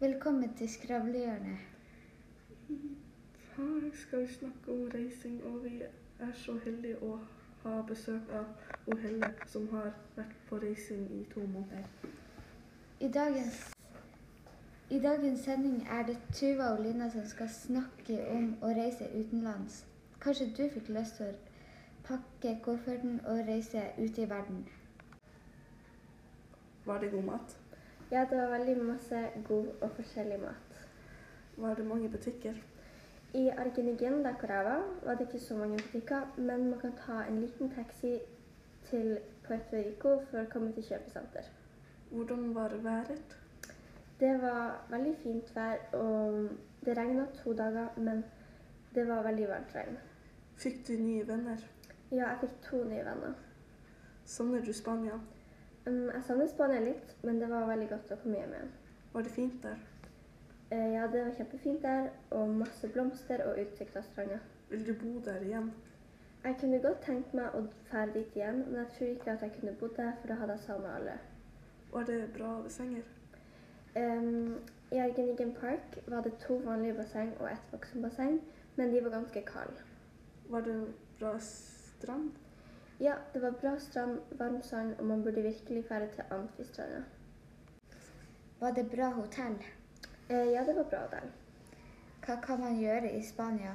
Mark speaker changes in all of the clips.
Speaker 1: Velkommen til Skravlehjørnet.
Speaker 2: Her skal vi snakke om reising, og vi er så heldige å ha besøk av O Helle, som har vært på reising i to måneder.
Speaker 1: I dagens, I dagens sending er det Tuva og Lina som skal snakke om å reise utenlands. Kanskje du fikk lyst til å pakke kofferten og reise ut i verden?
Speaker 2: Var det god mat?
Speaker 3: Ja, det var veldig masse god og forskjellig mat.
Speaker 2: Var det mange butikker?
Speaker 3: I Argenigen, der hvor jeg var, var det ikke så mange butikker, men man kan ta en liten taxi til Puerto Rico for å komme til kjøpesenter.
Speaker 2: Hvordan var været?
Speaker 3: Det var veldig fint vær, og det regna to dager, men det var veldig varmt regn.
Speaker 2: Fikk du nye venner?
Speaker 3: Ja, jeg fikk to nye venner.
Speaker 2: Savner du Spania?
Speaker 3: Um, Jeg savner Spania litt, men det var veldig godt å komme hjem igjen.
Speaker 2: Var det fint der?
Speaker 3: Eh, Ja, det var kjempefint der, og masse blomster og utsikt av stranda.
Speaker 2: Vil du bo der igjen?
Speaker 3: Jeg kunne godt tenkt meg å dra dit igjen, men jeg tror ikke at jeg kunne bodd der, for da hadde jeg savna alle.
Speaker 2: Var det bra bassenger?
Speaker 3: Ehm, I Argenigen Park var det to vanlige basseng og ett voksenbasseng, men de var ganske kalde.
Speaker 2: Var det en bra strand?
Speaker 3: Ja, det var bra strand, varm sand, og man burde virkelig fære til Amfistranda.
Speaker 1: Var det bra hotell?
Speaker 3: Eh, ja, det var bra der.
Speaker 1: Hva kan man gjøre i Spania?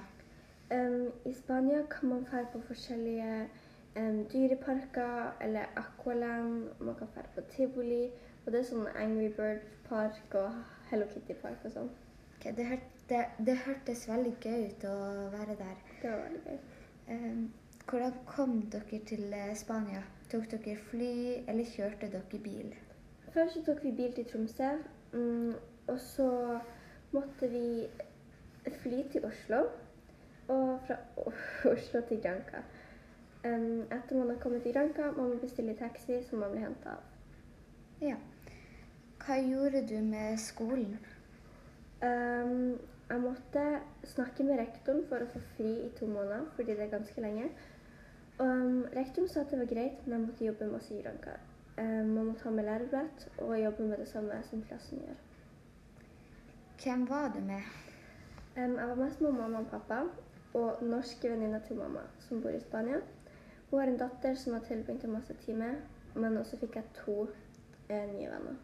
Speaker 3: Ehm, I Spania kan man fære på forskjellige ehm, dyreparker eller Aqualand, og man kan fære på tivoli, og det er sånn Angry Bird Park og Hello Kitty Park og sånn.
Speaker 1: Ok, Det, hørte, det, det hørtes veldig gøy ut å være der.
Speaker 3: Det var veldig gøy.
Speaker 1: Ehm, hvordan kom dere til eh, Spania? Tok dere fly, eller kjørte dere bil?
Speaker 3: Først så tok vi bil til Tromsø, mm, og så måtte vi fly til Oslo, og fra O- Oslo til Granca. Em, etter man har kommet til Granca, må man bestille taxi som man blir henta av.
Speaker 1: Ja. Hva gjorde du med skolen?
Speaker 3: Em, jeg måtte snakke med rektoren for å få fri i to måneder, fordi det er ganske lenge. Um, rektoren sa at det var greit, men jeg måtte jobbe masse i Granca. Em, man måtte ha med lærebrett og jobbe med det samme som klassen gjør.
Speaker 1: Hvem var du med?
Speaker 3: Em, jeg var mest med mamma og pappa og norske venninner til mamma som bor i Spania. Hun har en datter som har tilbringt en masse tid med, men også fikk jeg to eh, nye venner.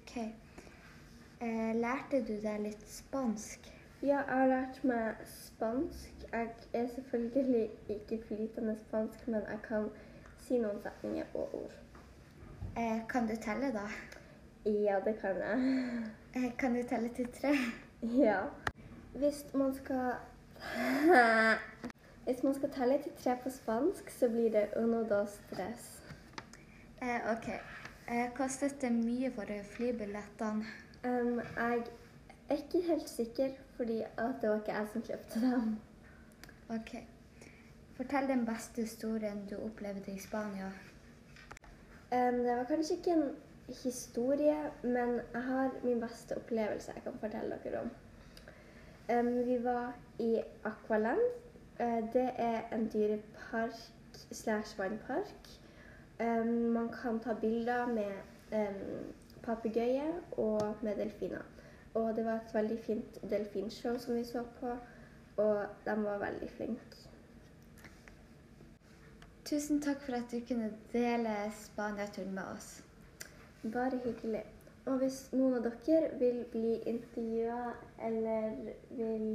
Speaker 1: Ok. Eh, lærte du deg litt spansk?
Speaker 3: Ja, jeg har lært meg spansk. Jeg er selvfølgelig ikke flytende spansk, men jeg kan si noen setninger og ord.
Speaker 1: Eh, kan du telle, da?
Speaker 3: Ja, det kan jeg.
Speaker 1: Eh, kan du telle til tre?
Speaker 3: Ja. Hvis man skal Hvis man skal telle til tre på spansk, så blir det uno dos tres.
Speaker 1: Eh, ok. Eh, kostet det mye for flybillettene?
Speaker 3: Um, jeg er ikke helt sikker, fordi at det var ikke jeg som kjøpte dem.
Speaker 1: Ok. Fortell den beste historien du opplevde i Spania.
Speaker 3: Um, det var kanskje ikke en historie, men jeg har min beste opplevelse jeg kan fortelle dere om. Um, vi var i Aqualand. Eh, det er en dyrepark slash vannpark. Um, man kan ta bilder med um, papegøyer og med delfiner. Og det var et veldig fint delfinshow som vi så på, og de var veldig flinke.
Speaker 1: Tusen takk for at du kunne dele Spania-turen med oss.
Speaker 3: Bare hyggelig. Og hvis noen av dere vil bli intervjua eller vil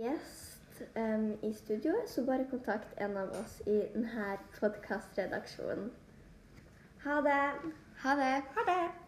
Speaker 3: gjest em, i studioet, så bare kontakt en av oss i denne podkastredaksjonen. Ha det!
Speaker 1: Ha det!
Speaker 3: Ha det!